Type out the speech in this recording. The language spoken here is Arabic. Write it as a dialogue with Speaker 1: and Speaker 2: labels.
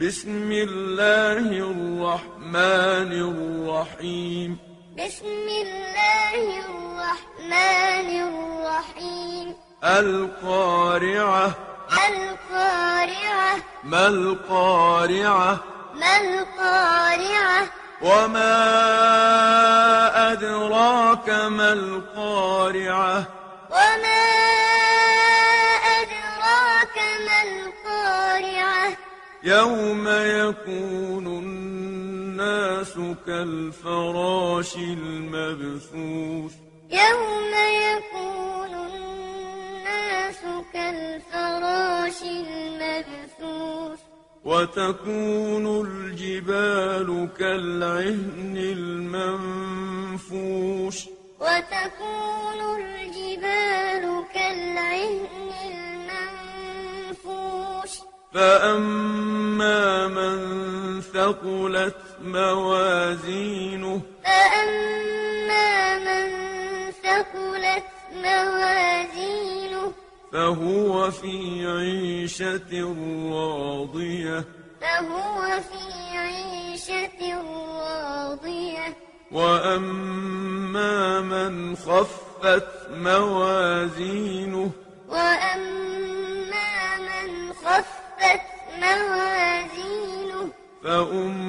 Speaker 1: بسم الله الرحمن الرحيم
Speaker 2: بسم الله الرحمن الرحيم
Speaker 1: القارعة
Speaker 2: القارعة
Speaker 1: ما القارعة
Speaker 2: ما القارعة وما
Speaker 1: أدراك ما القارعة
Speaker 2: وما أدراك ما القارعة
Speaker 1: يوم يكون الناس كالفراش المبثوث
Speaker 2: يوم يكون الناس كالفراش المبثوث
Speaker 1: وتكون الجبال كالعهن المنفوش
Speaker 2: وتكون الجبال كالعهن المنفوش
Speaker 1: فأما من ثقلت موازينه
Speaker 2: فأما من ثقلت موازينه
Speaker 1: فهو في عيشة راضية
Speaker 2: فهو في عيشة راضية
Speaker 1: وأما من خفت موازينه
Speaker 2: وأما من خفت موازينه
Speaker 1: فأم